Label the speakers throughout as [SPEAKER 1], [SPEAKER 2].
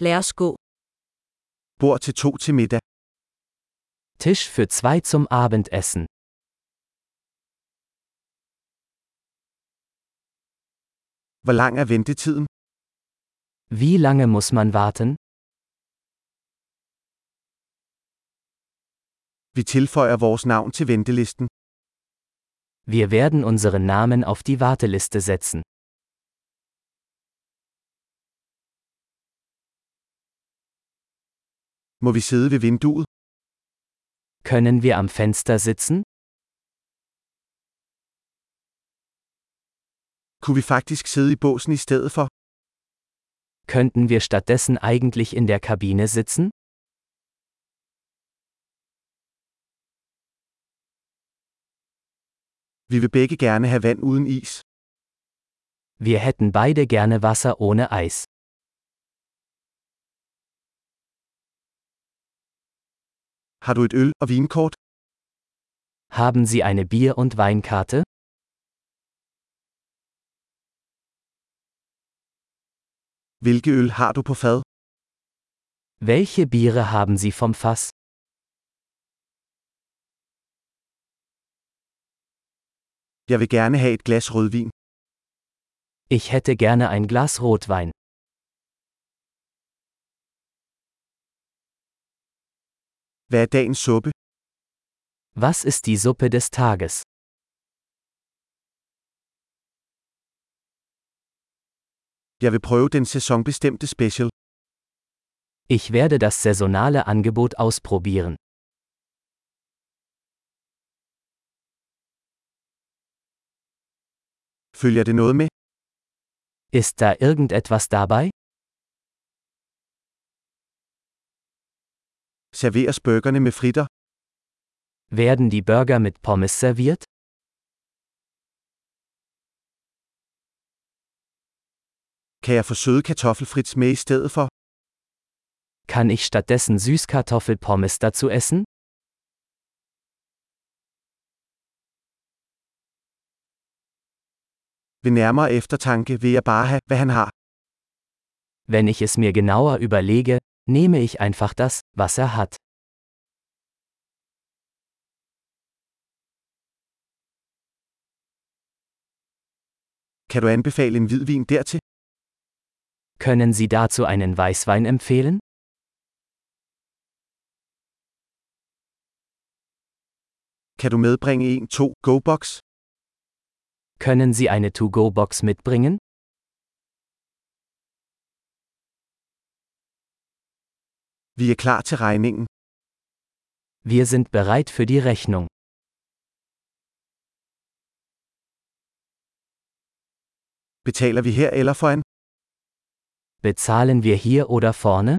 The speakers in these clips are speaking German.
[SPEAKER 1] Lad os gå.
[SPEAKER 2] Bord til to til middag.
[SPEAKER 3] Tisch für zwei zum Abendessen.
[SPEAKER 2] Hvor lang er ventetiden?
[SPEAKER 3] Wie lange muss man warten?
[SPEAKER 2] Vi tilføjer vores navn til ventelisten.
[SPEAKER 3] Wir werden unseren Namen auf die Warteliste setzen.
[SPEAKER 2] Må vi sidde ved vinduet?
[SPEAKER 3] Können wir am Fenster sitzen?
[SPEAKER 2] Kunne vi faktisk sidde i båsen i stedet for?
[SPEAKER 3] Könnten wir stattdessen eigentlich in der Kabine sitzen?
[SPEAKER 2] Vi vil begge gerne have vand uden is.
[SPEAKER 3] Wir hätten beide gerne Wasser ohne Eis.
[SPEAKER 2] Har du et øl og vinkort?
[SPEAKER 3] Haben Sie eine Bier- und Weinkarte?
[SPEAKER 2] Hvilke øl har du på fad?
[SPEAKER 3] Welche Biere haben Sie vom Fass?
[SPEAKER 2] Jeg vil gerne have et glas rødvin.
[SPEAKER 3] Ich hätte gerne ein Glas Rotwein.
[SPEAKER 2] Hvad er dagens suppe?
[SPEAKER 3] Was ist die Suppe des Tages?
[SPEAKER 2] Jeg vil prøve den sæsonbestemte special.
[SPEAKER 3] Ich werde das saisonale Angebot ausprobieren.
[SPEAKER 2] Følger det noget med?
[SPEAKER 3] Ist da irgendetwas dabei?
[SPEAKER 2] Serveres burgerne med fritter?
[SPEAKER 3] Werden die Burger mit Pommes serviert?
[SPEAKER 2] Kan jeg få søde kartoffelfrits med i stedet for?
[SPEAKER 3] Kann ich stattdessen Süßkartoffelpommes dazu essen?
[SPEAKER 2] Ved nærmere eftertanke vil jeg bare have, hvad han har.
[SPEAKER 3] Wenn ich es mir genauer überlege, nehme ich einfach das, was er hat.
[SPEAKER 2] Kan du anbefale en hvidvin dertil?
[SPEAKER 3] Können Sie dazu einen Weißwein empfehlen?
[SPEAKER 2] Kan du medbringe en 2 go-box?
[SPEAKER 3] Können Sie eine To-Go-Box mitbringen?
[SPEAKER 2] Vi er klar til regningen.
[SPEAKER 3] Wir sind bereit für die Rechnung.
[SPEAKER 2] Betaler vi her eller foran?
[SPEAKER 3] Bezahlen wir hier oder vorne?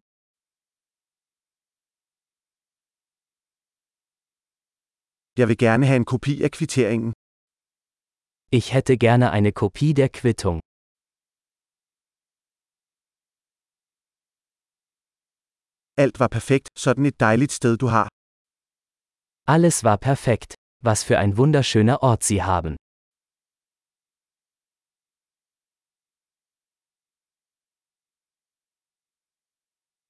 [SPEAKER 2] Jeg vil gerne have en kopi af kvitteringen.
[SPEAKER 3] Ich hätte gerne eine Kopie der Quittung.
[SPEAKER 2] Alt var perfekt, sådan et dejligt sted du har.
[SPEAKER 3] Alles war perfekt. Was für ein wunderschöner Ort Sie haben.